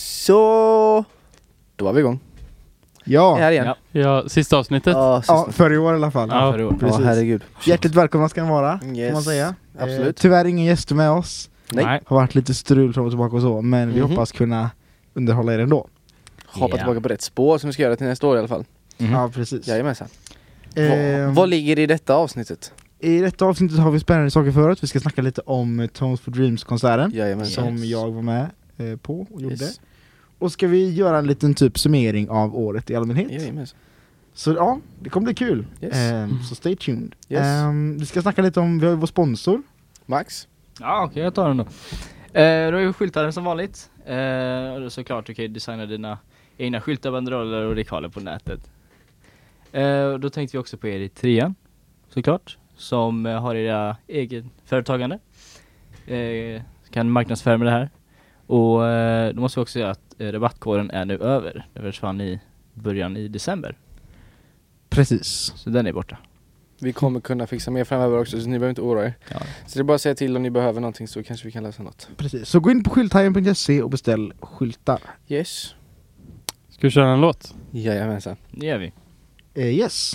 Så... Då var vi igång. Vi är Ja, här igen. Ja. Ja, Ja, sista avsnittet. ja, sist- ja för i år i alla fall. Ja. ja, precis. herregud. Hjärtligt välkomna ska ni vara, Yes. kan man säga. Eh, Absolut. tyvärr ingen gäster med oss. Nej. Har varit lite strul fram och tillbaka och så, men vi Mhm. hoppas kunna underhålla er ändå. Hoppa Ja. tillbaka på rätt spår som vi ska göra till nästa år i alla fall. Ja, precis. Jajamensan. Ehm, Mhm. Vad, vad ligger i detta avsnittet? I detta avsnittet har vi spännande saker förut. Vi ska snacka lite om eh, Tones for Dreams-konserten Jajamensan. som Yes. jag var med eh, på och gjorde. Yes. Och ska vi göra en liten typ summering av året i allmänhet. Jajamensan. Så ja, det kommer bli kul. Yes. Ehm, så stay tuned. Yes. Ehm, vi ska snacka lite om, vi har ju vår sponsor. Max? Ja, okej, jag tar den då. Eh, då är ju skyltaren som vanligt. Eh, och då såklart, du kan ju designa dina egna skyltar, banderoller och dekaler på nätet. Eh, och då tänkte vi också på er i trean, såklart, som eh, har era egen företagande. Eh, kan marknadsföra med det här. Och eh, då måste vi också säga att eh, rabattkoden är nu över. Den försvann i början i december, Precis. så den är borta. Vi kommer kunna fixa mer framöver också så ni behöver inte oroa er. Ja. Så det är bara att säga till om ni behöver någonting så kanske vi kan lösa något. Precis, så gå in på skylthajen.se och beställ skyltar. Yes. Ska vi köra en låt? Jajamensan. Det gör vi. Eh, yes.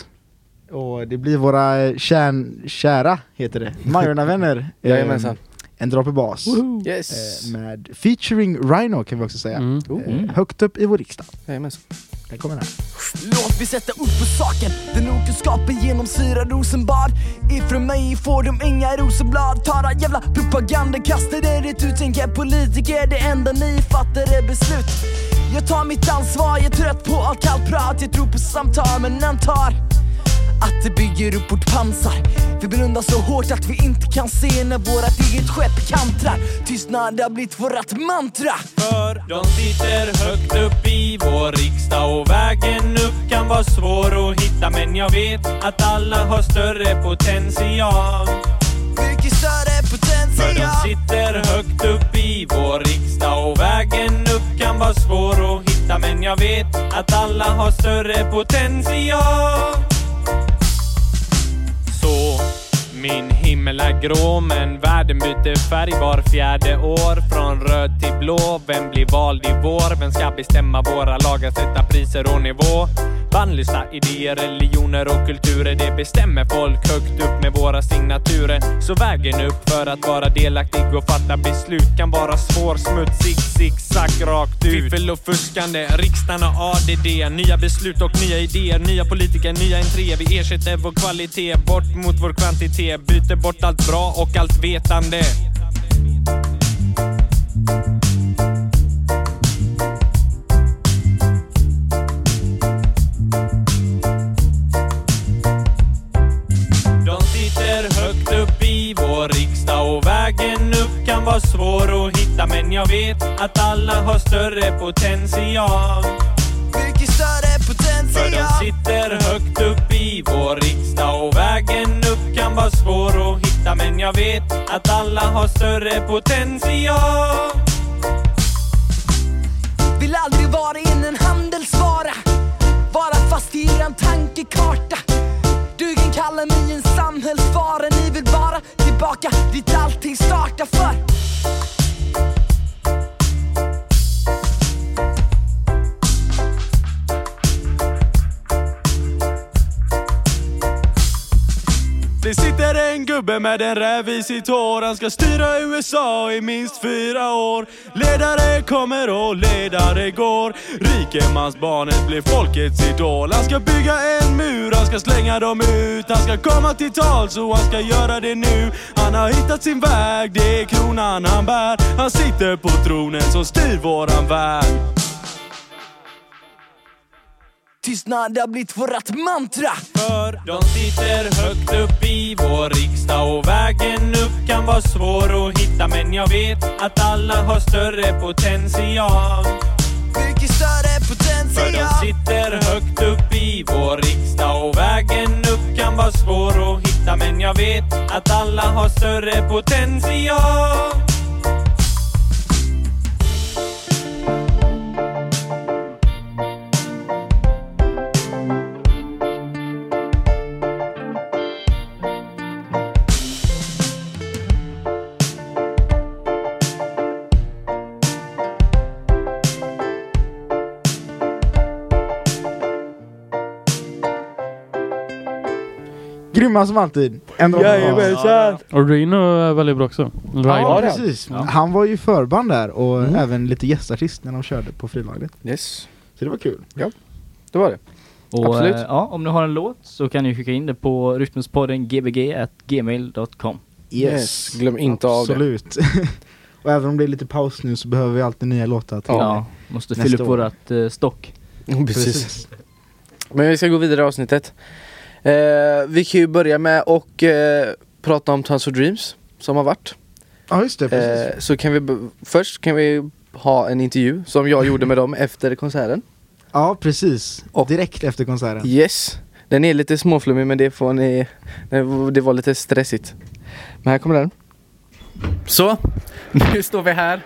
Och det blir våra eh, kärn, kära, heter det, Majorna-vänner. eh, Jajamensan. en droppe bas. Yes. Eh, med featuring Rhino kan vi också säga. Mm. Eh, högt upp i vår riksdag. Jajamensan. Den kommer här. Låt mig sätta ord på saken Den okunskapen genomsyrar Rosenbad Ifrån mig får de inga rosenblad Tara jävla propaganda kastar er ut utan jag politiker Det enda ni fattar är beslut Jag tar mitt ansvar, jag är trött på allt kallt prat Jag tror på samtal men antar att det bygger upp vårt pansar Vi blundar så hårt att vi inte kan se när vårat eget skepp kantrar Tystnad har blivit vårat mantra för de sitter högt upp i vår riksdag och vägen upp kan vara svår att hitta men jag vet att alla har större potential Mycket större för de potential sitter högt upp i vår riksdag och vägen upp kan vara svår att hitta men jag vet att alla har större potential så min himmel är grå men världen byter färg var fjärde år Från röd till blå Vem blir vald i vår? Vem ska bestämma våra lagar, sätta priser och nivå? Bannlysta idéer, religioner och kulturer Det bestämmer folk högt upp med våra signaturer Så vägen upp för att vara delaktig och fatta beslut kan vara svår, smutsig, zigzag rakt ut Fiffel och fuskande, riksdagen har ADD Nya beslut och nya idéer, nya politiker, nya entréer Vi ersätter vår kvalitet bort mot vår kvantitet Byter bort allt bra och allt vetande De sitter högt upp i vår riksdag och vägen upp kan vara svår att hitta men jag vet att alla har större potential Mycket större För de potential sitter högt upp i vår riksdag och vägen upp kan vara svår att hitta men jag vet att alla har större potential Vill aldrig vara in en handelsvara Vara fast i eran tankekarta Du kan kalla mig en samhällsfara Ni vill bara tillbaka dit allting startar för Det sitter en gubbe med en räv i sitt hår Han ska styra USA i minst fyra år Ledare kommer och ledare går Rikemansbarnet blir folkets idol Han ska bygga en mur, han ska slänga dem ut Han ska komma till tal så han ska göra det nu Han har hittat sin väg, det är kronan han bär Han sitter på tronen som styr våran värld Tystnad har blivit vårat mantra för de sitter högt upp i vår riksdag och vägen upp kan vara svår att hitta men jag vet att alla har större potential Mycket större för de potential sitter högt upp i vår riksdag och vägen upp kan vara svår att hitta men jag vet att alla har större potential Grymma som alltid. Ändå Jajamensan! Och Reno är väldigt bra också. Rhino. Ja, Ja, det är precis. Ja. Han var ju förband där och även lite gästartist när de körde på frilaget. Yes, Så det var kul. det var det. Och, Absolut. eh, ja, om ni har en låt så kan ni skicka in det på rytmuspodden gbg.gmail.com Glöm inte av det. Absolut. och även om det är lite paus nu så behöver vi alltid nya låtar till. Ja. Ja, måste Nästa fylla upp år. vårat eh, stock. Precis. Men vi ska gå vidare i avsnittet. Eh, vi kan ju börja med och eh, prata om Tons for Dreams som har varit. Ja just det, precis. Eh, så kan vi b- först kan vi ha en intervju som jag gjorde med dem efter konserten. Ja precis. och- Direkt efter konserten. Yes. Den är lite småflummig men det får ni... Det var lite stressigt. Men här kommer den. Så, nu står vi här.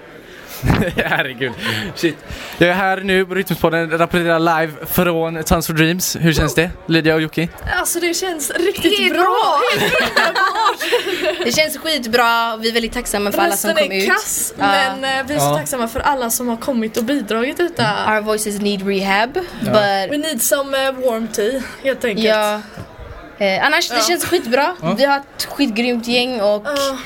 Herregud, shit. Jag är här nu på Rytmuspodden, rapporterar live från Tons for Dreams. Hur känns det? Lydia och Jocke? Alltså det känns riktigt bra. Det känns skitbra och vi är väldigt tacksamma för alla som Rösten kom är ut. kass Ja. men eh, vi är så Ja. tacksamma för alla som har kommit och bidragit till detta. Our voices need rehab. But, We need some eh, warm tea helt enkelt. ja, eh, annars det Ja. känns skitbra. Vi har ett skitgrymt gäng och Ja.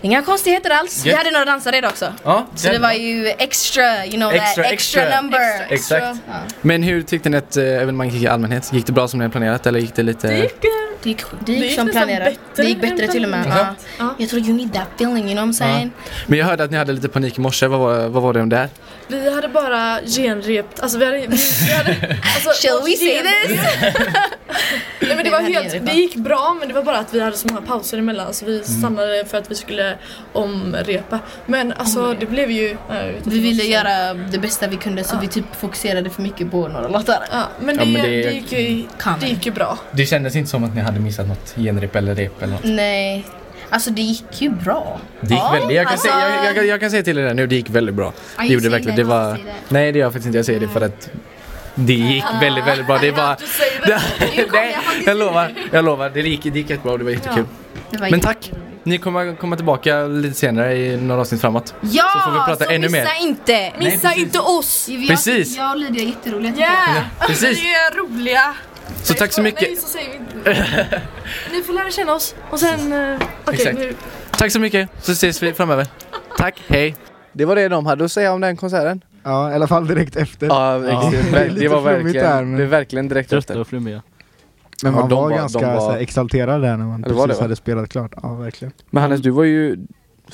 inga konstigheter alls. Vi Gött. hade några dansare idag också. Ja, Så det var ju extra, you know Extra, that extra, extra. number. Exakt. Men hur tyckte ni att eh, evenemanget gick i allmänhet? Gick det bra som ni hade planerat eller gick det lite... Det gick, eh, Det gick, det Det gick gick som nästan planerat. bättre Det gick än bättre till och med. Ja. planerat. Ja. Jag tror you need that feeling, you know what I'm saying? Men jag hörde att ni hade lite panik i morse, vad var, vad var det om där? Vi hade bara genrept, alltså vi hade... Vi, vi hade alltså, Shall we vårt say gen- this? Nej, men det, Vi var hade helt, genrep, det va? gick bra men det var bara att vi hade så många pauser emellan så Mm. vi stannade för att vi skulle omrepa. Men alltså det blev ju... ja, jag vet inte Vi vad jag ville ska säga. göra det bästa vi kunde så vi typ fokuserade för mycket på några låtar. Ja, men det, Ja, men det- det, gick ju, Kan. det gick ju bra. Det kändes inte som att ni hade missat något genrep eller rep eller något. Nej, alltså det gick ju bra. Det gick Ja, väldigt, jag kan, alltså- säga, jag, jag, kan- jag kan säga till er det nu, det gick väldigt bra. Det gjorde det säger verkligen. det, Det var, säger det. nej det gör jag faktiskt inte, jag säger det för att det gick väldigt, väldigt bra. Det var, nej, jag lovar, jag lovar. Det gick, det gick jättebra och det var jättekul. Det var Men ju- tack! Ni kommer komma tillbaka lite senare i några avsnitt framåt. Ja, så får vi prata ännu missa mer. inte! Alltså, Missa inte oss! Jag- Precis. Jag och Lydia är jätteroliga tycker jag. Yeah! Precis, Vi är roliga! så tack så mycket. Nej, så säger vi inte. Ni får lära känna oss och sen... eh, Okej, Exakt. nu... Tack så mycket, så ses vi framöver. Tack, hej. Det var det de hade att säga om den konserten. Ja, i alla fall direkt efter. Ja, exakt. Det är lite det var flummigt verkligen, där, men- det är verkligen direkt efter. Trötta och flummiga. Men Ja, man de var, var- ganska de var- Så här, exalterad där när man Ja, det var precis det, va? hade spelat klart. Ja, verkligen. Men Hannes, du var ju,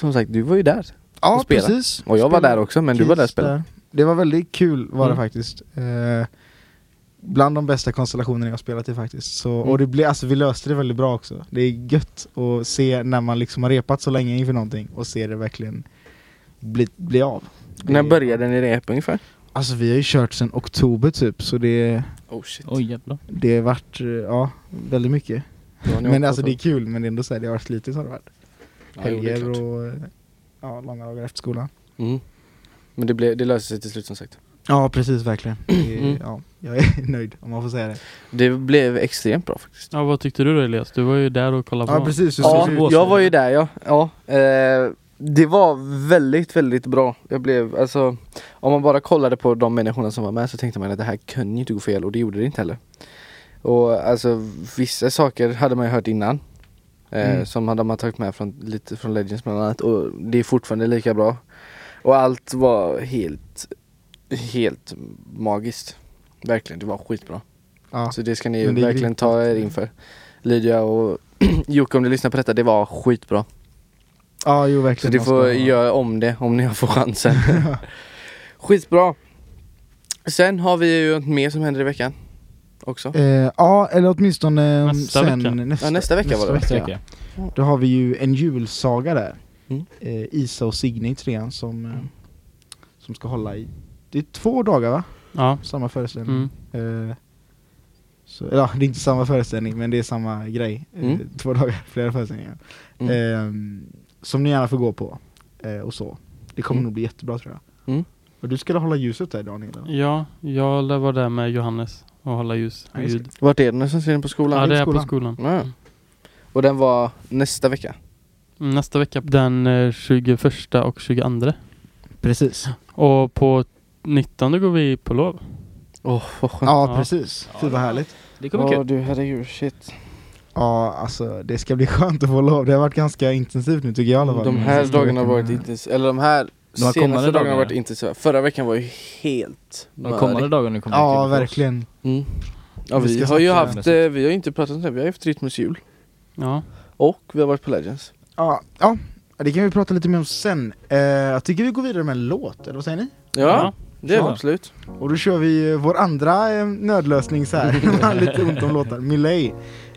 som sagt, du var ju där. Ja, Och spela. precis. Och jag var Spela där också, men du var där och Kiss spelade. Det var väldigt kul var det Mm. faktiskt. Eh, bland de bästa konstellationerna jag spelat i faktiskt. Så, Och Mm. det blev, alltså, vi löste det väldigt bra också. Det är gött att se när man liksom har repat så länge inför någonting och se det verkligen bli, bli av. Det- När började ni repa ungefär? Alltså vi har ju kört sedan oktober typ, så det, Oh shit. Oj jävlar. det har varit, eh, ja, väldigt mycket. Men alltså det är kul, men det är ändå så här, det har varit slitigt har det varit. Helger och eh, ja, långa dagar efter skolan. Mm. Men det, blev, det löste sig till slut som sagt. Ja precis, verkligen. Det, Mm. ja, jag är nöjd om man får säga det. Det blev extremt bra faktiskt. Ja, vad tyckte du då Elias? Du var ju där och kollade på Ja dem. precis, hur Ja, såg det ut? jag var ju där ja. ja eh, det var väldigt, väldigt bra. Jag blev, alltså, om man bara kollade på de människorna som var med så tänkte man att det här kan ju inte gå fel och det gjorde det inte heller. Och alltså vissa saker hade man ju hört innan. Eh, Mm. Som hade man tagit med från, lite från Legends bland annat och det är fortfarande lika bra. Och allt var helt, helt magiskt. Verkligen, det var skitbra. Ja. Så det ska ni Men det är verkligen grymt. ta er inför. Lydia och Jocke om ni lyssnar på detta, det var skitbra. Ja, jo Så verkligen. ni Man får ska- göra om det om ni får chansen. skitbra. Sen har vi ju något mer som händer i veckan. Också. Eh, ja, eller åtminstone eh, Nästa sen, vecka. Nästa, Ja, nästa vecka var det. vecka, ja. Då har vi ju en julsaga där. Mm. Eh, Isa och Signe i trean som, eh, som ska hålla i, det är två dagar va? Ja. Samma föreställning. Mm. Eh, så, ja, det är inte samma föreställning men det är samma grej. Eh, Mm. Två dagar, flera föreställningar. Mm. Eh, som ni gärna får gå på. Eh, och så. Det kommer Mm. nog bli jättebra tror jag. Mm. Och du skulle hålla ljuset där Daniel? eller? ja, jag lär vara där med Johannes och hålla ljus Ja, och just ljud. Vart är den någonstans? Är den på skolan? Ja, det är på skolan. skolan. Mm. Ja. Och den var nästa vecka. Mm, Nästa vecka, den eh, 21 och 22. Precis. Och på 19 går vi på lov. Åh vad skönt. Ja, Ja. precis. Fy vad härligt. Det Åh kommer bli kul. Mm. du herregud, shit. Ja, alltså det ska bli skönt att få lov. Det har varit ganska intensivt nu tycker jag i alla fall. Mm. De här sista dagarna har veckorna. varit intensiva, eller Mm. de här De här kommande senaste dagarna dagarna. har varit intensiva. Förra veckan var ju helt De kommande mörig. dagarna kommer Ja, till. verkligen. mm. Ja, Vi vi, ska har ju snacka haft, eh, vi har ju inte pratat om det, vi har haft Rytmusjul Ja. och vi har varit på Legends. Ja, ja, det kan vi prata lite mer om sen. Eh, jag tycker vi går vidare med en låt, eller vad säger ni? Ja, Ja. det är Ja. absolut. Och då kör vi eh, vår andra eh, nödlösning så här. Man har lite ont om låtar. Miley,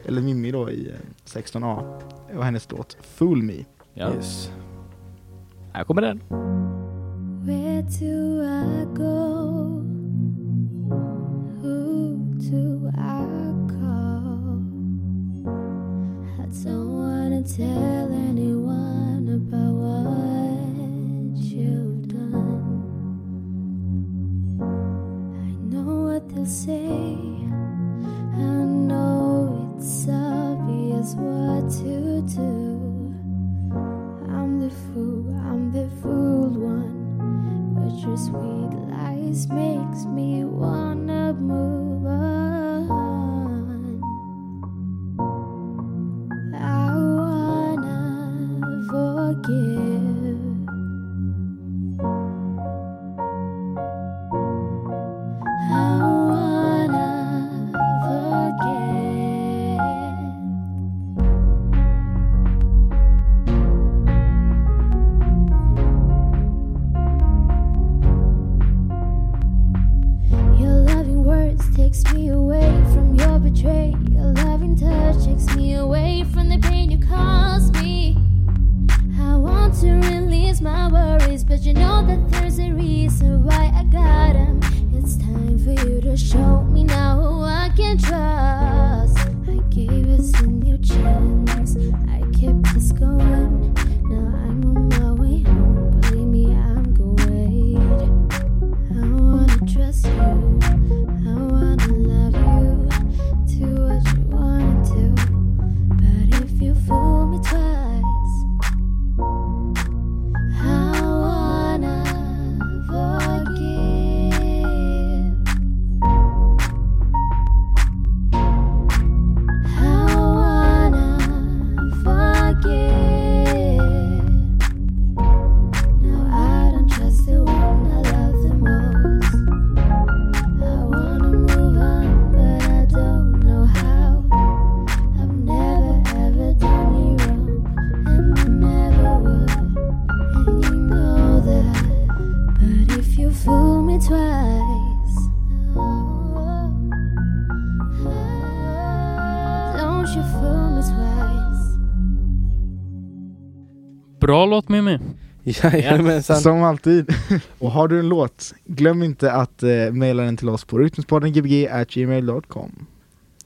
eller Mimmi då i eh, 16A. Och hennes låt Fool Me. Ja. Yes. Här kommer den. Where do I go? Who do I call? I don't wanna tell anyone about what you've done. I know what they'll say. I know it's obvious what to do. I'm the fool, I'm the fool one. But your sweet lies makes me wanna move on. I wanna forgive. I wanna forget. Your loving words takes me away from your betrayal. Your loving touch takes me away from the pain you caused me. I want to release my worries, but you know that there's a reason why I got 'em. It's time for you to show me now who I can trust. I gave us a new chance. I kept us going. Now I'm on my way home. Believe me, I'm going. I wanna trust you. I wanna love you. Do what you wanna do. But if you fool me twice, I wanna forgive. I wanna forgive. Now I don't trust the one I love the most. I wanna move on, but I don't know how. I've never ever done you wrong, and I never would. And you know that. But if you fool me twice, don't you fool me twice. Bra låt Mimmi. Jajamensan. Som alltid. Och har du en låt, glöm inte att eh, mejla den till oss på rytmuspodden gbg.gmail.com.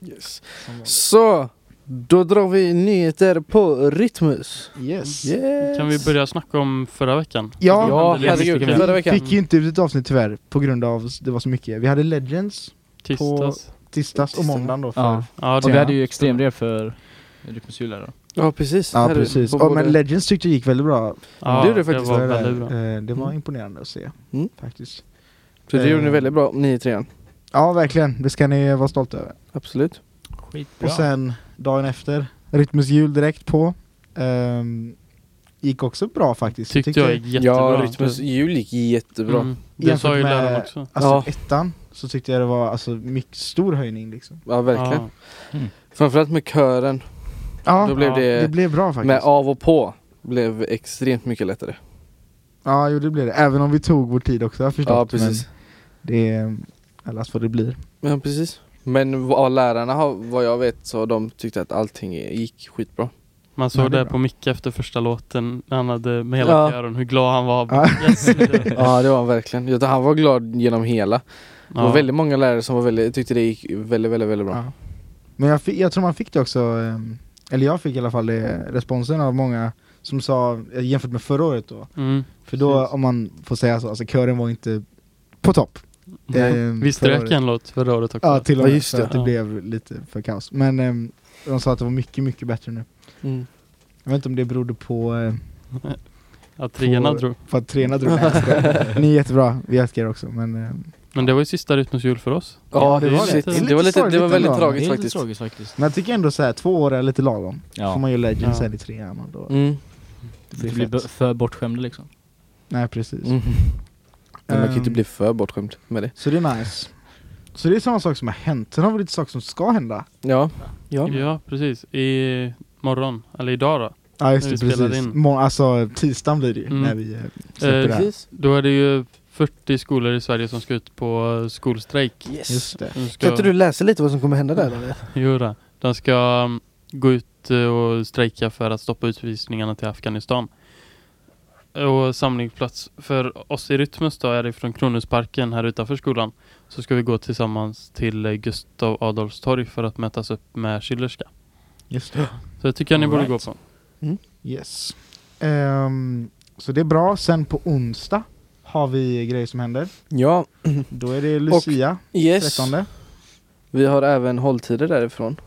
Yes. Så, då drar vi nyheter på Rytmus. Yes. Yes. Kan vi börja snacka om förra veckan? Ja, Ja, Det är herregud. mycket. Förra veckan. Fick ju inte ut ett avsnitt tyvärr, på grund av s- det var så mycket. Vi hade Legends Tisdags. tisdags och Tisdag. måndagen då. För. Ja. Ja. Ja, Och vi det hade ju extremrev för Rytmushjul där då. Ja, precis. Här är- precis. på Ja, både- men Legends tyckte jag gick väldigt bra. ja, det gjorde det faktiskt. var Det där, väldigt bra. eh, det var Mm. imponerande att se, Mm. faktiskt. Så det eh. gjorde ni väldigt bra, ni i trean. Ja, verkligen. Det ska ni vara stolta över. Absolut. Skitbra. Och sen dagen efter, Rytmus jul direkt på. Ehm, gick också bra faktiskt. Tyckte jag gick jättebra. Ja, Rytmus jul gick jättebra. Mm. Det Jämfört sa ju med- läraren också. Alltså Ja. ettan, så tyckte jag det var alltså, mycket stor höjning liksom. Ja, verkligen. Ja. Framförallt med kören. Ja, Då blev Ja, det, det blev bra faktiskt. med av och på, blev extremt mycket lättare. Ja, jo det blev det. Även om vi tog vår tid också har jag förstått. Ja, precis. Men det är, allas vad det blir. Ja, precis. Men vad lärarna, har, vad jag vet, så har de tyckte att allting gick skitbra. Man såg Nej, det är det bra. på Micke efter första låten när han hade med hela Ja. kören hur glad han var. Ja. Yes, det- Ja, det var han verkligen. Jag tror Han var glad genom hela. Det var Ja. väldigt många lärare som var väldigt, tyckte det gick väldigt, väldigt, väldigt bra. Ja. Men jag, fick, jag tror man fick det också, ehm, eller jag fick i alla fall det, responsen av många som sa, eh, jämfört med förra året då, Mm. för då Precis. om man får säga så, alltså kören var inte på topp. Ehm, Vi förra strök året. en låt förra året också. Ja till och Ja, med, just så det. att det Ja. blev lite för kaos. Men ehm, de sa att det var mycket, mycket bättre nu. Mm. Jag vet inte om det berodde på, eh, Att Trena På- drog. på att Trena drog det. Ni är jättebra, vi älskar er också men ehm, Men det var ju sista Rytmus jul för oss. Ja, det var lite- det. Det var, lite, det var väldigt ändå. Det är tragiskt lite faktiskt. tragiskt faktiskt. Men jag tycker ändå såhär, två år är lite lagom. Ja. Får man ju Legends Ja. här i trean och då. Mm. blir Det blir fett. b- för bortskämd liksom. Nej precis. Mm. Men man kan ju inte Ehm, bli för bortskämd med det. Så det är nice. Så det är samma sak som har hänt, sen har vi lite saker som ska hända. Ja. Ja. Ja, precis. I morgon, eller idag då. Ja just När det, vi spelar precis. in. Må- alltså tisdagen blir det ju Mm. när vi eh, släpper Eh, det här. Precis. Då är det ju 40 skolor i Sverige som ska ut på eh, skolstrejk. Yes. Just det. De ska Kan inte du läsa lite vad som kommer hända där? Eller? göra. De ska mm, gå ut eh, och strejka för att stoppa utvisningarna till Afghanistan. Och samlingsplats för oss i Rytmus då är det från Kronhusparken här utanför skolan. Så ska vi gå tillsammans till eh, Gustav Adolfs torg för att mötas upp med Schillerska. Just det. Så det tycker jag ni borde gå Alright. på. Yes. Ehm, så det är bra, sen på onsdag har vi grejer som händer. Ja. Då är det Lucia, Yes. 13. Vi har även hålltider därifrån.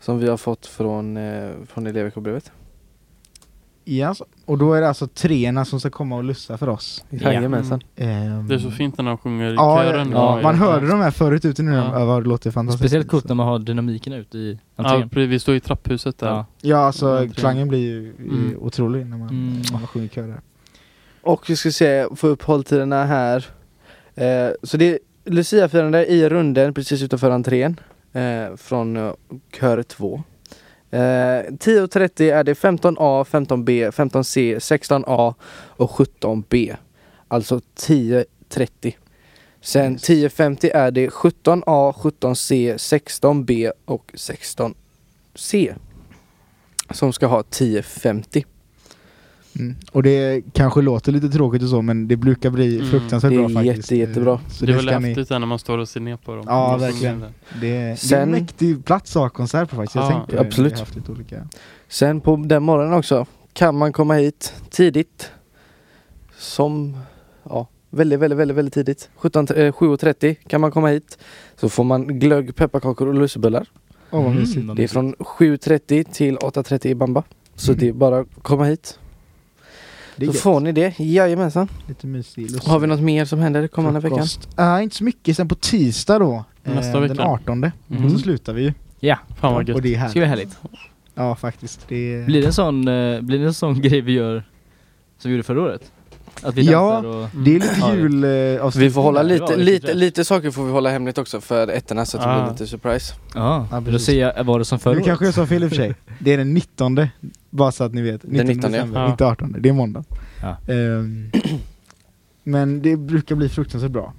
Som vi har fått från, eh, från elevveckobrevet. Yes. Och då är det alltså treorna som ska komma och lussa för oss. Jajamensan. Mm. Ehm, Det är så fint när de sjunger i Ja, kören. ja, Och- man hörde de här förut ute nu när de Ja. övar, det låter fantastiskt. Speciellt coolt när man har dynamiken ute i Ja, entrén. precis. vi står i trapphuset där. typ. Ja. Ja alltså Mm. klangen blir ju Mm. mm. otrolig när man, Mm. när man sjunger körer. Och vi ska se, få upp hålltiderna här. Eh, så det är Luciafirande i runden precis utanför entrén. Eh, från eh, kör 2. Eh, 10.30 är det 15A, 15B, 15C, 16A och 17B. Alltså 10.30. Sen Yes. 10.50 är det 17A, 17C, 16B och 16C. Som ska ha 10.50. Mm. Och det kanske låter lite tråkigt och så men det brukar bli Mm. fruktansvärt Det är bra faktiskt. Eh, jätte, jättebra. Så Det är det, väl ska ni, häftigt där när man står och ser ner på dem. Ja, De sjunger verkligen. där. det, är, det är en Sen- mäktig plats att ha konsert på faktiskt. Jag Ja, har tänkt på det. absolut. Vi har haft lite olika. Sen på den morgonen också kan man komma hit tidigt. Som, ja, väldigt, väldigt, väldigt, väldigt tidigt. 17, eh, 7.30 kan man komma hit. Så får man glögg, pepparkakor och lussebullar. Åh vad Mm, mysigt. vad Det är mysigt. från 7.30 till 8.30 i Bamba. Så det är bara att komma hit. Det är Då gött. får ni det, jajamensan. Lite mysig lust. Har vi något mer som händer kommande veckan? Frukost. Nej, inte så mycket. Sen på tisdag då, eh, Nästa den vecka. 18 Mm. så slutar vi ju. Fan vad och gött. det är Ska vi här. härligt. Ja faktiskt. Det är... Blir det en sån, eh, blir det en sån grej vi gör som vi gjorde förra året? Att vi Ja. dansar och... Det är lite Ja, det- jul eh, Vi får hålla Ja, det var lite, riktigt lite, rätt. lite saker får vi hålla hemligt också för ettorna så att det Ah. blir lite surprise. Ja, Ja, då precis. säger jag, var det som förra Nu året? kanske jag sa fel i och för sig. Det är den 19, bara så att ni vet. 19 Den 19, ja. december, Ja. inte 18. Det är måndag. Ja. Ehm, men det brukar bli fruktansvärt bra.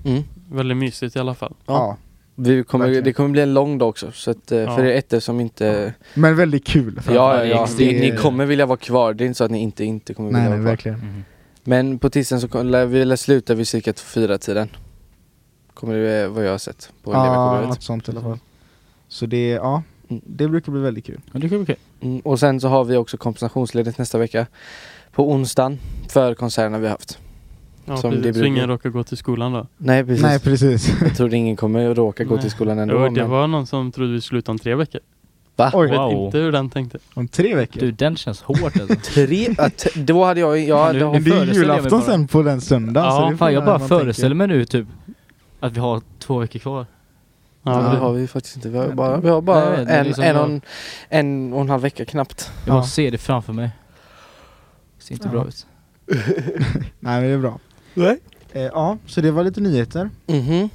Väldigt mysigt i alla fall. Ja. Vi kommer, Verkligen. det kommer bli en lång dag också så att, eh, för Ja. er ettor som inte Men väldigt kul. Eh, Ja, ja, det är ja. extremt- Ni, ni kommer vilja vara kvar, det är inte så att ni inte, inte kommer vilja Nej, nej, vara kvar. verkligen. Mhm. Men på tisdagen så kommer- lär vi lär sluta vid cirka fyra tiden Kommer det eh, vad jag har sett på Ja, elevveckobrödet. något sånt i alla fall. Så det, ja. Mm. Det brukar bli väldigt kul. Ja, det kan bli kul. Mm, och sen så har vi också kompensationsledigt nästa vecka på onsdagen för konserterna vi har haft. Ja, Som det precis. Så brukar. ingen råkar gå till skolan då. Nej precis, Nej, precis. jag trodde ingen kommer att råka gå Nej. till skolan ändå. Jo, det men- var någon som trodde vi skulle sluta om tre veckor. Oj, Jag vet Wow. inte hur den tänkte. om tre veckor. Du, den känns hårt alltså. Tre, ja, t- då hade jag, ja, Men du- då, men det är ju föreställer jag mig julafton bara. sen på den söndagen. så Ja, det får Fan, jag man- bara man föreställer mig nu typ att vi har två veckor kvar. ja, men det har vi faktiskt inte. Vi har bara, vi har bara Nej, det är en, liksom en, och jag- en, en och en halv vecka knappt. Jag Ja. bara ser det framför mig. Ser inte Ja. bra ut. tänker. Nej, men det är bra. Nej. Eh, ja, så det var lite nyheter. Mhm.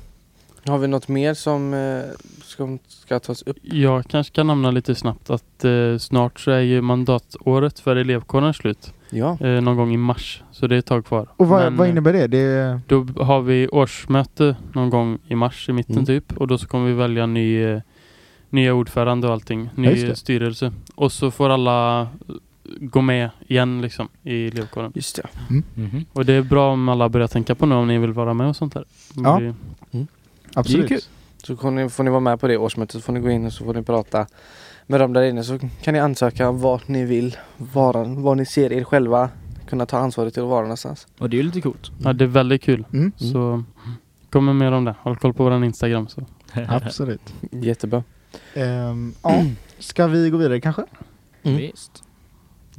Har vi något mer som eh, ska, ska tas upp? Jag kanske kan nämna lite snabbt att eh, snart så är ju mandatåret för elevkåren slut. Ja. Eh, någon gång i mars. Så det är ett tag kvar. Och vad, Men, vad eh, innebär det? det är, Då har vi årsmöte någon gång i mars i mitten Mm. typ. Och då så kommer vi välja ny, eh, nya ordförande och allting. Ja, Ny just det. styrelse. Och så får alla eh, gå med igen liksom i elevkåren. Just det. Mhm. Och det är bra om alla börjar tänka på nu om ni vill vara med och sånt där. Det Ja. blir- absolut. kul. Så får ni, får ni vara med på det årsmötet, så får ni gå in och så får ni prata med dem där inne så kan ni ansöka vart ni vill vara, var ni ser er själva kunna ta ansvaret till att vara någonstans. Och det är ju lite coolt. Ja, det är väldigt kul. Mm. Så kommer mer om det. Håll koll på våran Instagram. Så. Absolut. Jättebra. Ehm, ja, ska vi gå vidare kanske? Mm. Visst.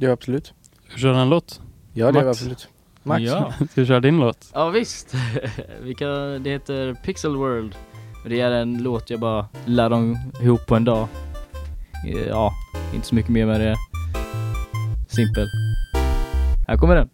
Ja absolut. Ska vi köra en låt? Ja det Max. gör vi absolut. Max? Ja. Ska vi köra din låt? Ja visst. Vi kan, det heter Pixel World. Och Det är en låt jag bara lär dem ihop på en dag. Eh, Ja, inte så mycket mer med det. Simpel. Här kommer den.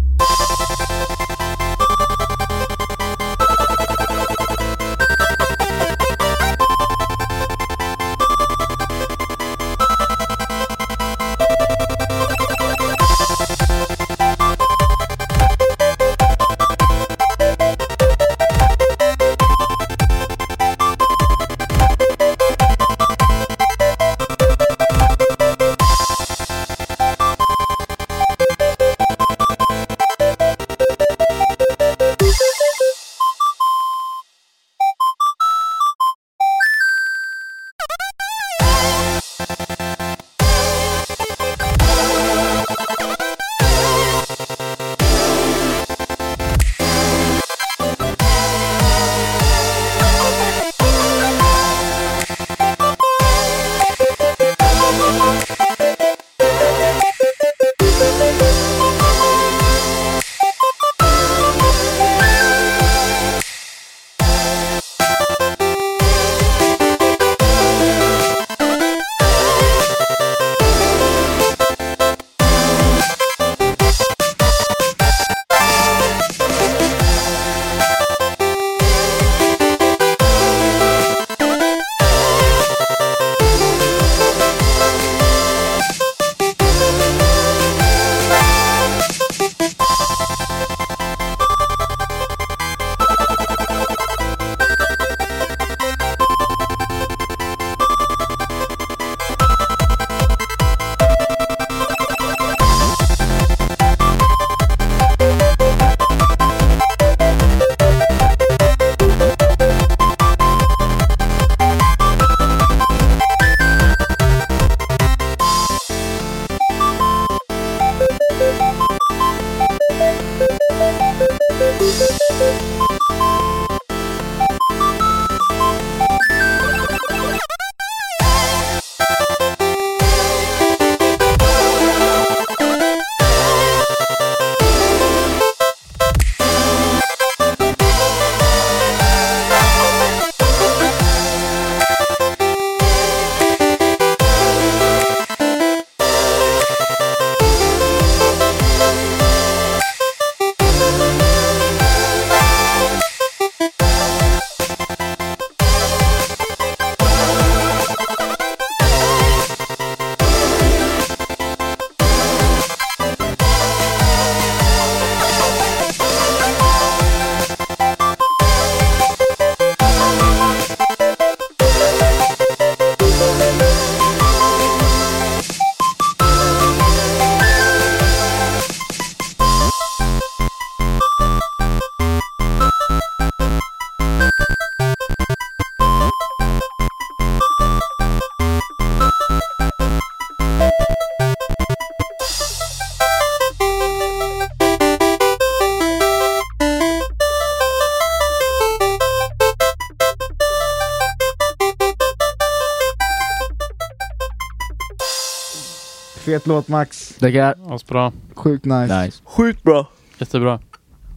Fet låt Max, Tackar. Asbra. sjukt nice. Nice. Sjukt bra. Jättebra.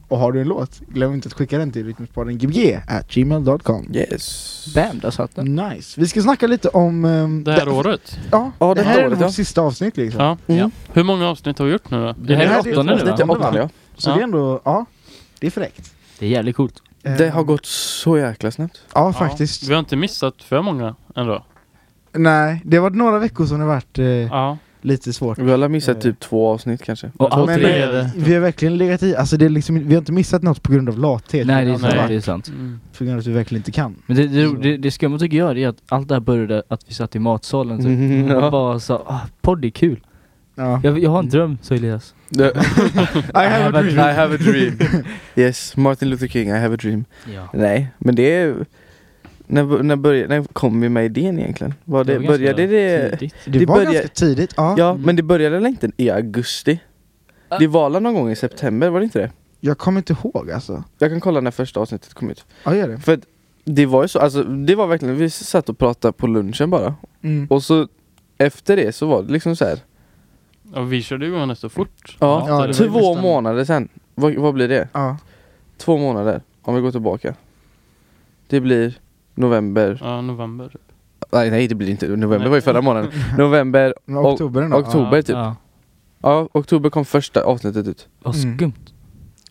Och har du en låt, glöm inte att skicka den till rytmispodden gbg at gmail.com Yes. Bam, där satt den. Nice, vi ska snacka lite om... ehm, Det här året. Ja, Ja, det det här här är året, vårt ja. sista avsnitt liksom. Ja. Mm. Hur många avsnitt har vi gjort nu då? Det här är det åttonde nu Avsnitt va? va? åttonde, ja. Så Ja. det är ändå, ja, det är fräckt. Det är jävligt coolt. Det Eh, har gått så jäkla snabbt. Ja, faktiskt. Vi har inte missat för många ändå. Nej, det har varit några veckor som det har varit eh, Ja. lite svårt. Vi har väl missat typ två avsnitt kanske. Och allt men- eh, är över. Vi har verkligen legat i, alltså det är liksom, vi har inte missat något på grund av lathet. Nej det är sant. Nej. Det är sant. Mm. På grund av att vi verkligen inte kan. Men det, det, det, det skumma tycker jag det är att allt det här började att vi satt i matsalen typ. Mm, ja. Och bara sa ah, podd är kul. Ja. Jag, jag har en dröm sa Elias. I have a I dream. have a dream. Yes, Martin Luther King, I have a dream. Ja. Nej, men det är... När, när, började, när kom vi med idén egentligen? Var det, började det... Det, Det var börjar- ganska tidigt, ja. Mm. Ja, men det började väl inte i augusti? Det var väl någon gång i september, var det inte det? Jag kommer inte ihåg alltså. Jag kan kolla när första avsnittet kom ut. Ja, gör det. För att det var ju så, alltså det var verkligen, vi satt och pratade på lunchen bara. Mm. Och så efter det så var det liksom så här. Ja, vi körde igång nästan fort. Ja, Ja, det var ju två nästan- månader sen. Vad, vad blir det? Två månader, om vi går tillbaka. Det blir november. Ja, november. Nej, nej det blir inte. November Nej. var ju förra månaden. November Men och- oktober ändå. Oktober Ja. typ. Ja. Ja, oktober kom första avsnittet ut. Vad Mm. skumt.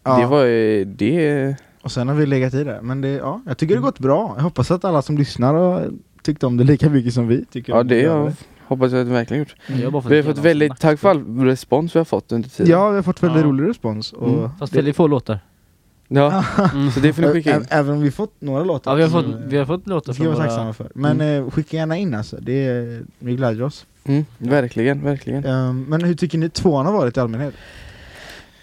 Ja. Det var ju det... Och sen har vi legat i det, men det, ja, jag tycker det gått bra. Jag hoppas att alla som lyssnar har tyckt om det lika mycket som vi tycker Ja, om det jag hoppas jag att det verkligen gjort. Mm. Jag har bara Vi har igenom fått väldigt, såna. tack för all respons vi har fått under tiden. Ja, vi har fått väldigt Ja. rolig respons. Och Mm. Fast väldigt få låtar. Ja, Mm. så det får ni skicka in. Ä- Även om vi fått några låtar. Ja, vi har så- fått, Mm. vi har fått låtar Det ska vi från vara våra... tacksamma för. Men Mm. eh, skicka gärna in alltså, det, är- vi gläder oss. Mm, verkligen, verkligen. Ehm, men hur tycker ni tvåan har varit i allmänhet?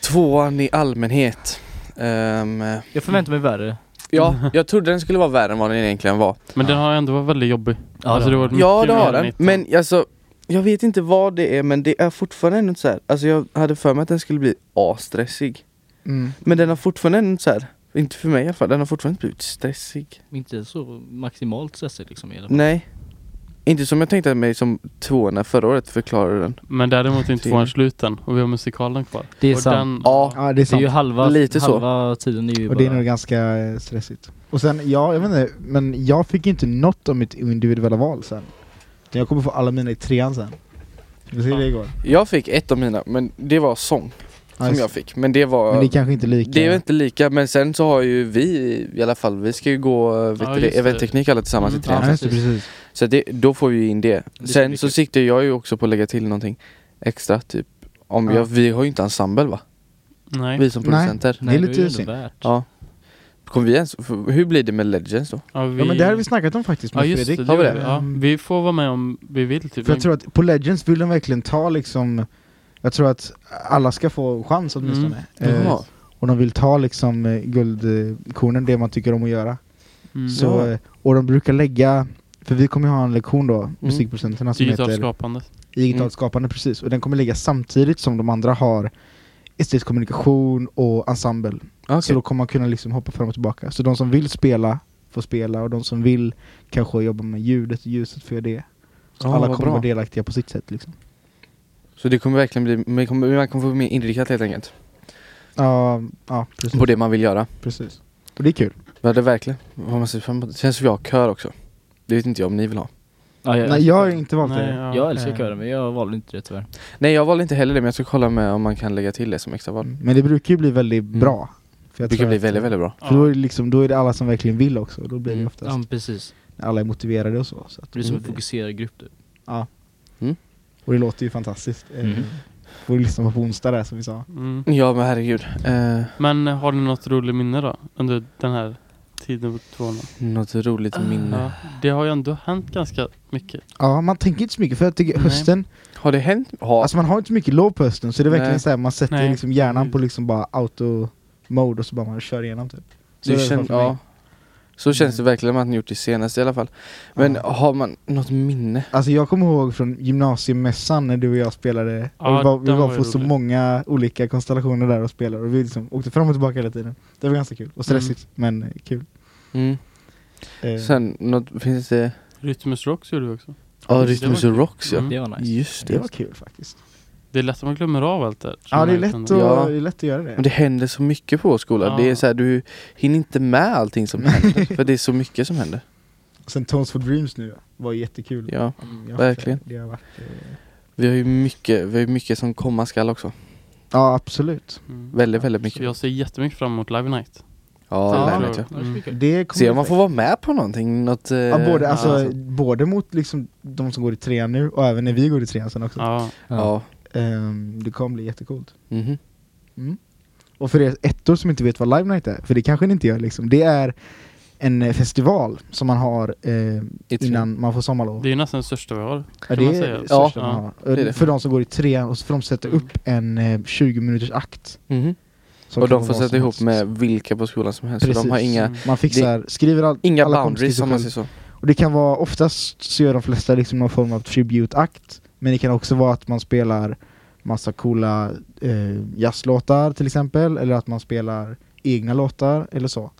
Tvåan i allmänhet. Ehm, Jag förväntar mig värre. ja, jag trodde den skulle vara värre än vad den egentligen var. Men den har ändå varit väldigt jobbig. alltså, det har varit Ja mycket det har mer den, nytt. men alltså jag vet inte vad det är men det är fortfarande ändå så här. Alltså jag hade för mig att den skulle bli A-stressig Mm. Men den har fortfarande ändå så här. Inte för mig i alla fall, den har fortfarande inte blivit stressig Inte så maximalt stressig liksom i alla fall. Nej Inte som jag tänkte mig som tvåorna förra året förklarade den Men däremot är inte Till- tvåan slut än och vi har musikalen kvar. Det är och sant. den- Ja. Ja, det är Det är sant. ju halva, Lite så. halva tiden är ju Och bara... det är nog ganska eh, stressigt. Och sen, ja, jag vet inte, men jag fick inte något om mitt individuella val sen. Utan Jag kommer få alla mina i trean sen. Vi ser hur det går. Jag fick ett av mina, men det var sång Ja, som just- jag fick Men det var Men det är kanske inte lika... Det är väl inte lika, men sen så har ju vi i alla fall, vi ska ju gå eh, vet Ja, du, just det, det. eventteknik alla tillsammans Mm. i trean Ja, just det, precis. Så det, då får vi ju in det. Det ska Sen bli så kul. siktar jag ju också på att lägga till någonting extra typ. Om Ja. jag, vi har ju inte ensemble va? Nej. Vi som Nej. producenter. Det är ju lite ändå synd. värt. Ja. Kommer vi ens, för- hur blir det med Legends då? Ja, vi... Ja, men det här har vi snackat om faktiskt med Ja, just det. Fredrik. Mm. det Har vi gjorde det? vi. Mm. Ja. Vi får vara med om vi vill typ. För jag tror att på Legends vill de verkligen ta liksom Jag tror att alla ska få chans åtminstone eh, Jaha. Och de vill ta liksom eh, guldkornen, det man tycker om att göra mm. så, Ja. eh, Och de brukar lägga För vi kommer ju ha en lektion då, musikproducenterna som Digitalt heter skapande. Digitalt Mm. skapande precis Och den kommer ligga samtidigt som de andra har Estetisk kommunikation och ensemble Ah, Okej. Så då kommer man kunna liksom hoppa fram och tillbaka Så de som vill spela får spela och de som vill kanske jobba med ljudet och ljuset får göra det Så Ja, alla Ah, vad kommer vara bra. delaktiga på sitt sätt liksom Så det kommer verkligen bli, man kommer, man kommer få mer inriktat helt enkelt. Ja, ja precis. På det man vill göra. precis. Och det är kul. Ja det är verkligen. Vad man ser fram emot. Det känns som jag har kör också. Det vet inte jag om ni vill ha. Ja, jag, Nej, jag har inte valt Nej, det. ja. jag älskar eh. kören men jag valde inte det tyvärr. Nej jag valde inte heller det men jag ska kolla med om man kan lägga till det som extra val. Mm. Men det brukar ju bli väldigt bra. För jag Mm. Det tror kan bli att- väldigt väldigt bra. För då, är det liksom, då är det alla som verkligen vill också. Då blir det Mm. oftast Ja men precis. när alla är motiverade och så. så att Det blir som det en fokuserad grupp typ. du. Och det låter ju fantastiskt. Mm. Mm. Får du lyssna på på onsdag där som vi sa. Mm. Ja men herregud. Eh, Men har ni något roligt minne då? Under den här tiden på tvåan? Ah. något roligt minne. Ja. Det har ju ändå hänt ganska mycket. Ja, man tänker inte så mycket för jag tycker Nej. hösten, Har det hänt? Har, alltså man har inte så mycket lov på hösten så det är verkligen Nej. Mm. så här, man sätter Nej. liksom hjärnan på liksom bara auto mode och så bara man kör igenom typ. Så Det är det i alla kän- fall för mig. Mm. ja. Så känns det verkligen att ni gjort det senaste i alla fall. Men Ja. har man något minne? Alltså jag kommer ihåg från gymnasiemässan när du och jag spelade Ja, och vi var, vi den var var ju på så rolig. många olika konstellationer där och spelade och vi liksom åkte fram och tillbaka hela tiden Det var ganska kul och stressigt men eh, kul Mm. eh, Sen något, finns det? Rytmus Rocks gjorde vi också. Ja, det Rytmus var och Rocks ja. Mm. Det var nice. Just Det det. var kul faktiskt Det är lätt att man glömmer av allt där. Ja det är lätt att, Ja. det är lätt att göra Men det det händer så mycket på vår skola. Ja. Det är så här, du hinner inte med allting som händer. för det är så mycket som händer. Sen Tones for Dreams nu var jättekul Ja. Mm, jag- verkligen. det har varit, eh, Vi har ju mycket, vi har ju mycket som komma skall också. Ja absolut Mm. Väldigt, väldigt Så mycket. jag ser jättemycket fram emot Live Night. Ja, Ja. det vet jag. Mm. det kommer Se om bli man får fett. vara med på någonting. Något, eh, ja, både, alltså, Ja. både mot liksom de som går i trean nu och även när vi går i trean sen också Ja. ja. Ehm, Det kommer bli jättecoolt Mhm. Och för er ettor som inte vet vad Live Night är, för det kanske ni inte gör liksom, det är en eh, festival som man har eh, I tre. innan man får sommarlov. Det är ju nästan det största vi har. ja, kan det man är säga. det Ja, största man har. det är det. För de som går i trean, och så får de sätta Mm. upp en eh, 20 minuters akt. Mhm. som Och kan de får vara vad sätta som ihop helst. med vilka på skolan som helst. Så de har Precis. inga, Mm. Man fixar, skriver all, inga alla punkter boundaries sig om man själv. säger så. Och det kan vara, oftast så gör de flesta liksom någon form av tribute-akt Men det kan också vara att man spelar massa coola eh, jazzlåtar till exempel Eller att man spelar egna låtar eller så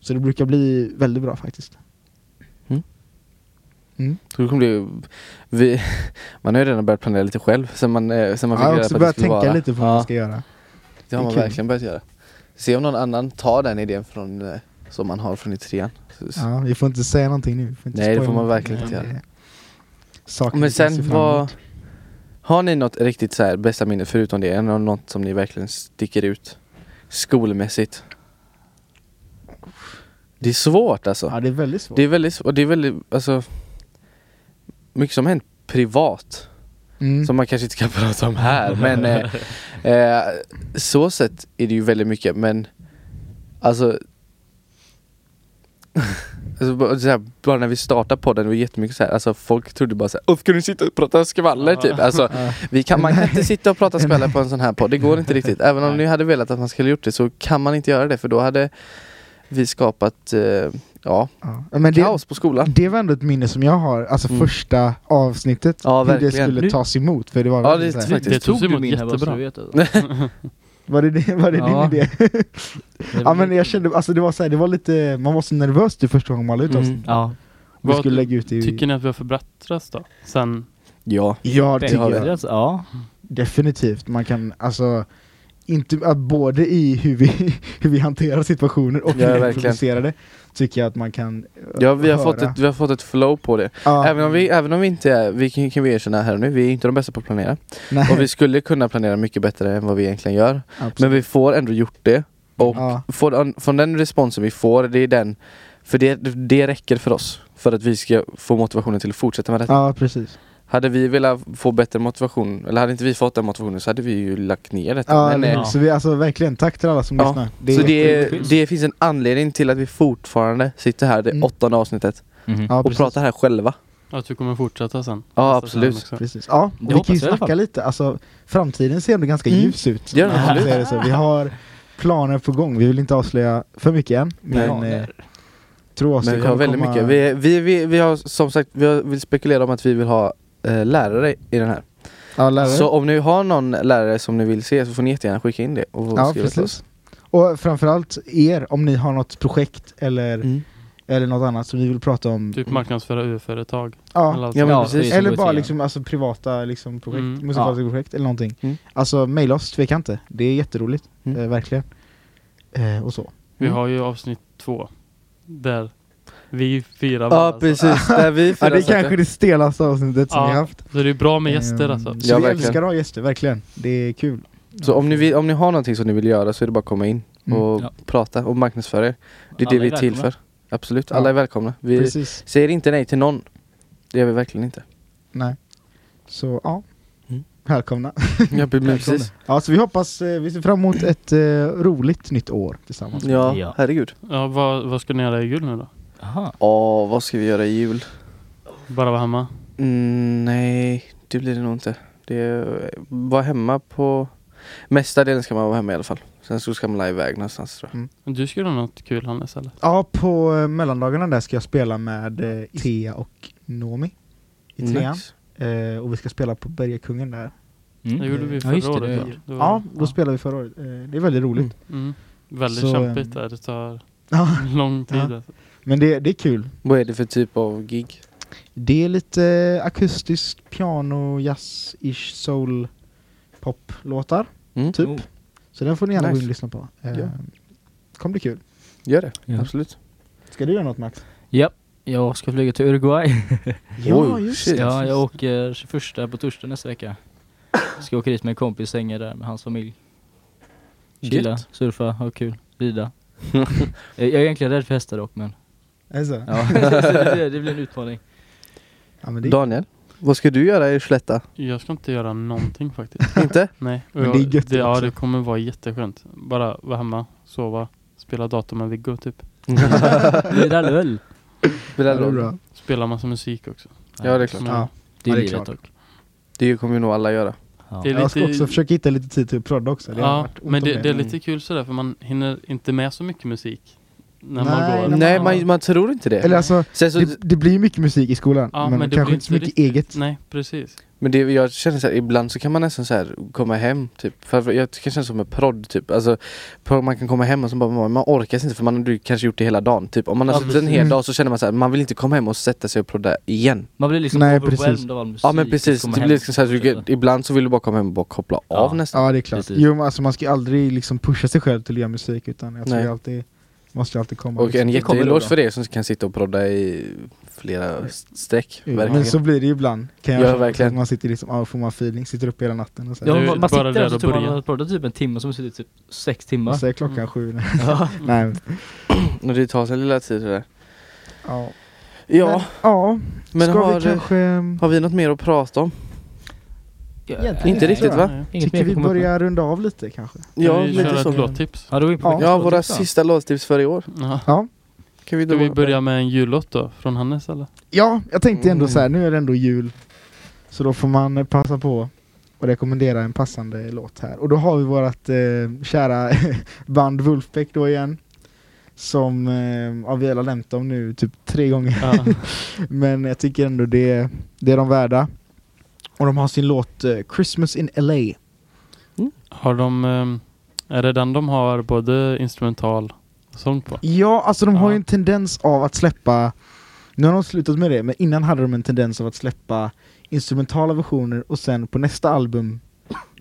Så det brukar bli väldigt bra faktiskt Så det kommer bli, vi, man har ju redan börjat planera lite själv sen man, eh, sen man Jag fick har reda också på att det börjat skulle tänka vara lite på vad ja, man ska göra Det har Det är man kul. verkligen börjat göra Se om någon annan tar den idén från, eh, som man har från i trean. Så- så- Ja, vi får inte säga någonting nu. Vi Får inte Nej, det spoila får man någonting. verkligen inte Nej, göra. det- Saker Men vi kan se sen fram emot. vad... Har ni något riktigt så här bästa minne förutom det? Nå- Något som ni verkligen sticker ut skolmässigt? Det är svårt alltså. Ja, det är väldigt svårt. Det är väldigt, och det är väldigt, alltså Mycket som hänt privat Mm. Som man kanske inte kan prata om här men eh, eh, Så sett är det ju väldigt mycket men Alltså Alltså bara, så här, bara när vi startade podden, det var jättemycket så här, alltså folk trodde bara såhär ska ni sitta och prata skvaller typ? Alltså, vi kan, man kan inte sitta och prata skvaller på en sån här podd, det går inte riktigt. Även om ni hade velat att man skulle gjort det så kan man inte göra det för då hade vi skapat, eh, ja, Ja. Ja, Men det, kaos på skolan. det var ändå ett minne som jag har, alltså Mm. första avsnittet. Ja, hur det verkligen. skulle tas emot. För det var, Ja, verkligen det så här, Faktiskt. Det togs du emot typ min här bara, så jättebra. du vet det. var det, det- var det Ja. din idé? ja men jag kände, alltså det var så här, det var lite, man var så nervös det första gången man la ut Mm. avsnittet. Ja, Vi Vad skulle lägga ut det i... Tycker ni att vi har förbättrats då? Sen, Ja, Ja det det har tycker vi. jag. Alltså, ja. Definitivt, man kan alltså inte, att både i hur vi, hur vi hanterar situationer och Ja, hur vi verkligen. producerar det Tycker jag att man kan eh, ja vi, har fått höra. ett, vi har fått ett flow på det. ja, Även, om vi, även om vi inte är, vi kan, kan vi erkänna här och nu, vi är inte de bästa på att planera. nej, Och vi skulle kunna planera mycket bättre än vad vi egentligen gör. absolut. Men vi får ändå gjort det. Och ja, från, från den responsen vi får, det är den, för det, det räcker för oss. För att vi ska få motivationen till att fortsätta med detta. ja, precis Hade vi velat få bättre motivation, eller hade inte vi fått den motivationen så hade vi ju lagt ner detta. ja, Men, eller eh, hur? Så vi, alltså verkligen, tack till alla som Ja, lyssnar så är- det, det finns en anledning till att vi fortfarande sitter här, det Mm. åttonde avsnittet, Mm-hmm. ja, och precis, pratar här själva. att vi kommer fortsätta sen? Ja, Alltså, Nästa term absolut. också. precis. Ja, och Det vi hoppas kan ju jag i alla snacka fall. lite, alltså framtiden ser ändå ganska Mm. ljus ut Gör den, Om man absolut. säger det så. Vi har planer på gång, vi vill inte avslöja för mycket än Men Nej. eh, tro oss, Men det vi har kommer väldigt komma- mycket. Vi, vi, vi, vi har som sagt, vi har, vill spekulera om att vi vill ha eh, lärare i den här. ja, lärare. Så om ni har någon lärare som ni vill se så får ni jättegärna skicka in det och Ja, skriva till oss. precis. Och framförallt er, om ni har något projekt eller, Mm. eller något annat som vi vill prata om. Typ marknadsföra UF-företag. ja. Eller allt Ja, sånt. men Ja, precis. det är så Eller går bara till. liksom, alltså, privata liksom, projekt, Mm. musikaliska projekt eller någonting. Mm. Alltså mejla oss, tveka inte. Det är jätteroligt, Mm. eh, verkligen. Eh, och så. Vi Mm. har ju avsnitt två. Där vi fyra var, Ja precis, där vi Ja, fyra det är satt. kanske det stelaste avsnittet som Ja, vi har haft. Så det är bra med gäster Ehm, alltså. Så Ja, vi verkligen. älskar att ha gäster, verkligen. Det är kul. Så om ni, vill, om ni har någonting som ni vill göra så är det bara att komma in Mm. och Ja. prata och marknadsföra er. Det är Alla det vi är är till välkomna. för. Absolut, Ja. alla är välkomna. Vi Precis. säger inte nej till någon. Det gör vi verkligen inte. Nej. Så ja. Mm. Välkomna. Ja, precis. Ja, så vi hoppas, eh, vi ser fram emot ett eh, roligt nytt år tillsammans. Ja, Ja. herregud. Ja, vad, vad ska ni göra i jul nu då? Aha. Åh, vad ska vi göra i jul? Bara vara hemma? Mm, nej, det blir det nog inte. Det är, var hemma på... Mesta delen ska man vara hemma i alla fall. Sen så ska man la iväg någonstans tror jag. Du ska göra något kul Hannes eller? Ja, på eh, mellandagarna där ska jag spela med eh, Thea och Nomi i trean. Mm. Nice. Eh, och vi ska spela på Bergakungen där. Mm. Det gjorde vi Ja, förra just det, det året. gör va? Det var- Ja, då spelade vi förra året. Eh, det är väldigt roligt. Mm. Väldigt Så, kämpigt ehm, där. Det tar Ja, lång tid. Ja. Alltså. men det, det är kul. Vad är det för typ av gig? Det är lite eh, akustiskt piano, jazz-ish, soul, pop-låtar. Mm. Typ. Oh. Så den får ni gärna gå Nice. in och lyssna på. Eh, Ja. Kommer bli kul. Gör det, Ja. absolut. Ska du göra något Max? Ja, jag ska flyga till Uruguay. Ja, Oj, just shit. det. Ja, jag åker 21 på torsdag nästa vecka. Ska åka dit med en kompis och hänga där med hans familj. Chilla, Gött. surfa, ha kul, rida. jag jag är egentligen rädd för hästar dock men Är det så? Ja. ja. Så det, blir- det blir en utmaning. men det, Daniel, vad ska du göra i Skellefteå? Jag ska inte göra någonting faktiskt. Inte? Nej. Men det är gött det, Ja, också. det kommer vara jätteskönt. Bara vara hemma, sova, spela dator med Viggo typ. Lira lull. Spelar Ja, det är roll. bra. Spela massa musik också. Ja, det är klart. Men Ja. Det är Ja, det är livet klart. dock. Det kommer ju nog alla göra. Det är Jag ska lite, också försöka hitta lite tid till att prodda också. Det har ja, varit ont men om det, det är Mm. lite kul sådär för man hinner inte med så mycket musik. När Nej, man går. när Nej, man, man tror inte det. Eller alltså, Sen så, det, det blir ju mycket musik i skolan, Ja, men, men det kanske blir inte så mycket riktigt- eget. Nej, precis. Men det, jag känner så här, ibland så kan man nästan så här komma hem typ. För jag kan känna som en prodd typ. Alltså, pro- man kan komma hem och så bara, man, man orkar inte för man har ju kanske gjort det hela dagen. Typ. Om man har Ja, suttit en precis. hel Mm. dag så känner man så här, man vill inte komma hem och sätta sig och prodda igen. Man blir liksom Nej, overwhelmed precis. av all musik. Ja men precis, som det kommer blir hem. liksom så här, du, ibland så vill du bara komma hem och bara koppla av nästan. Ja det är klart. Jo men alltså man ska ju aldrig liksom pusha sig själv till att göra musik utan jag tror Nej. ju alltid, måste ju alltid komma Och en liksom. jätteeloge för er som kan sitta och prodda i flera streck. Mm. Jo, verkligen. Men så blir det ju ibland, kan jag Ja, känna. verkligen. Att Man sitter liksom, ja, får man feeling, sitter upp hela natten och sen Ja, man, man sitter där och så tror man man har pratat typ en timme och så har man suttit typ sex timmar. Och så är klockan sju. Ja. Nej. men- Och det tar sig lilla tid det där. Ja. Ja. Men, ja. Men Ska har, vi kanske... har vi något mer att prata om? Egentligen Inte riktigt va? Tycker vi börjar runda av lite kanske? Ja, lite så. Ja, då är vi på Ja, veckans våra låttips då. sista låttips för i år. Ja. Ja. Kan vi Ska då... vi börja med en jullåt då? Från Hannes eller? Ja, jag tänkte ändå så här, nu är det ändå jul. Så då får man eh, passa på och rekommendera en passande låt här. Och då har vi vårt eh, kära band Wolfpack då igen. Som eh, ja, vi har nämnt dem nu typ tre gånger. Men jag tycker ändå det, det är de värda. Och de har sin låt eh, Christmas in LA. Har de... ehm, Är det den de har både instrumental och sång på? Ja, alltså de har ju en tendens av att släppa Nu har de slutat med det, men innan hade de en tendens av att släppa instrumentala versioner och sen på nästa album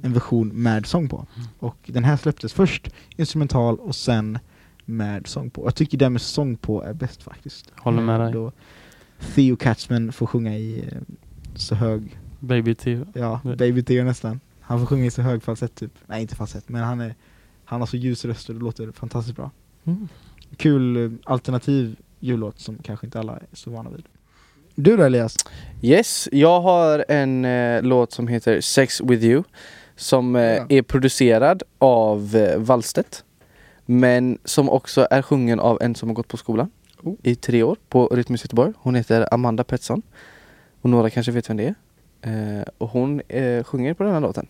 en version med sång på. Mm. Och den här släpptes först instrumental och sen med sång på. Jag tycker den med sång på är bäst faktiskt. Eh, Håller med dig. Då Theo Katzman får sjunga i eh, så hög, Baby T. ja, Mm. Nej. Baby Theo nästan. Han får sjunga i så hög falsett typ. Nej, inte falsett, men han, är, han har så ljus röst och det låter fantastiskt bra Mm. kul eh, alternativ jullåt som kanske inte alla är så vana vid. Du då Elias? Yes, jag har en eh, låt som heter Sex with you som eh, Ja. är producerad av eh, Wallstedt men som också är sjungen av en som har gått på skolan Oh. i tre år på Rytmus Göteborg. Hon heter Amanda Pettersson och några kanske vet vem det är. Eh, och hon eh, sjunger på den här låten.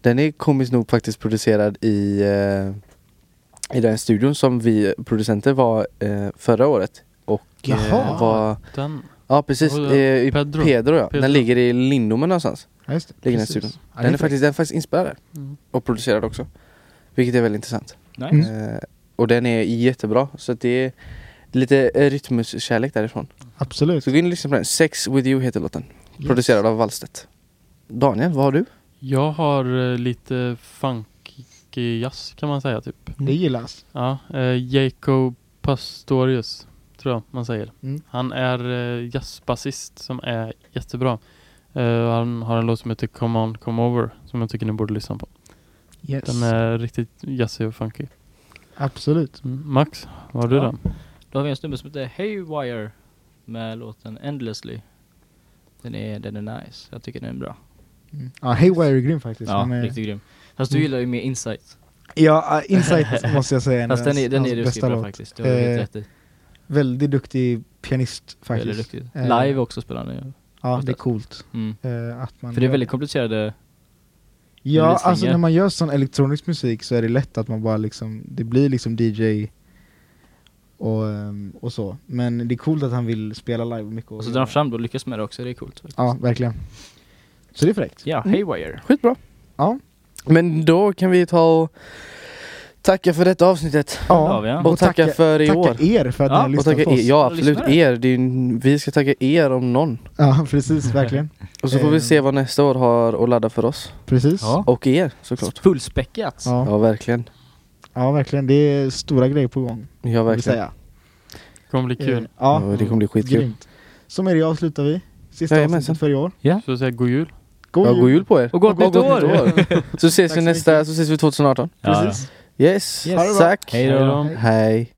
Den är komiskt nog faktiskt producerad i, eh, i den studion som vi producenter var eh, förra året. Och Jaha. eh, var Den. Ja precis, Och, oh, eh, i Pedro. Pedro, ja. Pedro. Den ligger i Lindomen någonstans. Ja, just det. Ligger Precis. den i studion. Ja, det Den är inte- faktiskt, den är faktiskt inspelad där. Mm. Och producerad också. Vilket är väldigt intressant. Nice. Mm. Eh, och den är jättebra. Så att det är lite eh, rytmuskärlek därifrån. Absolut. Så gå in och lyssna på den. Sex with you heter låten. Yes. Producerad av Wallstedt. Daniel, vad har du? Jag har eh, lite funkig jazz kan man säga typ. Mm. Det gillas. Ja, eh, Jacob Pastorius tror jag man säger. Mm. Han är eh, jazzbasist som är jättebra. Eh, han har en låt som heter Come On Come Over som jag tycker ni borde lyssna på. Yes. Den är riktigt jazzig och funky. Absolut. Mm. Max, vad har du Ja. då? Då har vi en snubbe som heter Haywire med låten Endlessly. Den är, den är nice. Jag tycker den är bra. Mm. Ja, Haywire är grym faktiskt. Ja, Han är- riktigt grym. Fast du Mm. gillar ju mer Insight. ja eh, Insight måste jag säga Fast den är, den hans är ruskigt bra faktiskt. Det har du Eh, helt rätt i. Väldigt duktig pianist Väldigt faktiskt. duktigt. Eh, Live också spelar den ju. Ja, det är coolt. Mm. eh, att man För det är gör väldigt komplicerade... Ja, releasing, alltså ja. när man gör sån elektronisk musik så är det lätt att man bara liksom, det blir liksom DJ och, ehm, och så. Men det är coolt att han vill spela live mycket. Och så drar han fram det och lyckas med det också. Det är coolt. faktiskt. Ja, Mm. verkligen. Så det är fräckt. Ja, Haywire. Skitbra. Ja. Men då kan vi ta och tacka för detta avsnittet. Ja, vi har. Och, tacka, för i tacka år. er för att ni Ja, har och Och lyssnat tacka på er. oss. Ja Och absolut, lyssnare. er. Det är ju, vi ska tacka er om någon. Ja, precis, verkligen. Och så får vi Eh. se vad nästa år har att ladda för oss. Precis. Ja. Ja. Och er såklart. Fullspäckat. Ja. Ja, verkligen. verkligen. Det är stora grejer på gång. Ja, Vill verkligen. säga. Det kommer bli kul. Eh, Ja, Ja, det kommer bli skitkul. grymt. Så med det avslutar vi. Sista Jajamensan. avsnittet för i år. Så att säga god jul. Ja, god jul på er! Och gott nytt år. Så ses Tack vi så nästa, så ses vi 2018. Ja, Precis. Yes, Yes. Ha det bra. tack! Hej då. Hej!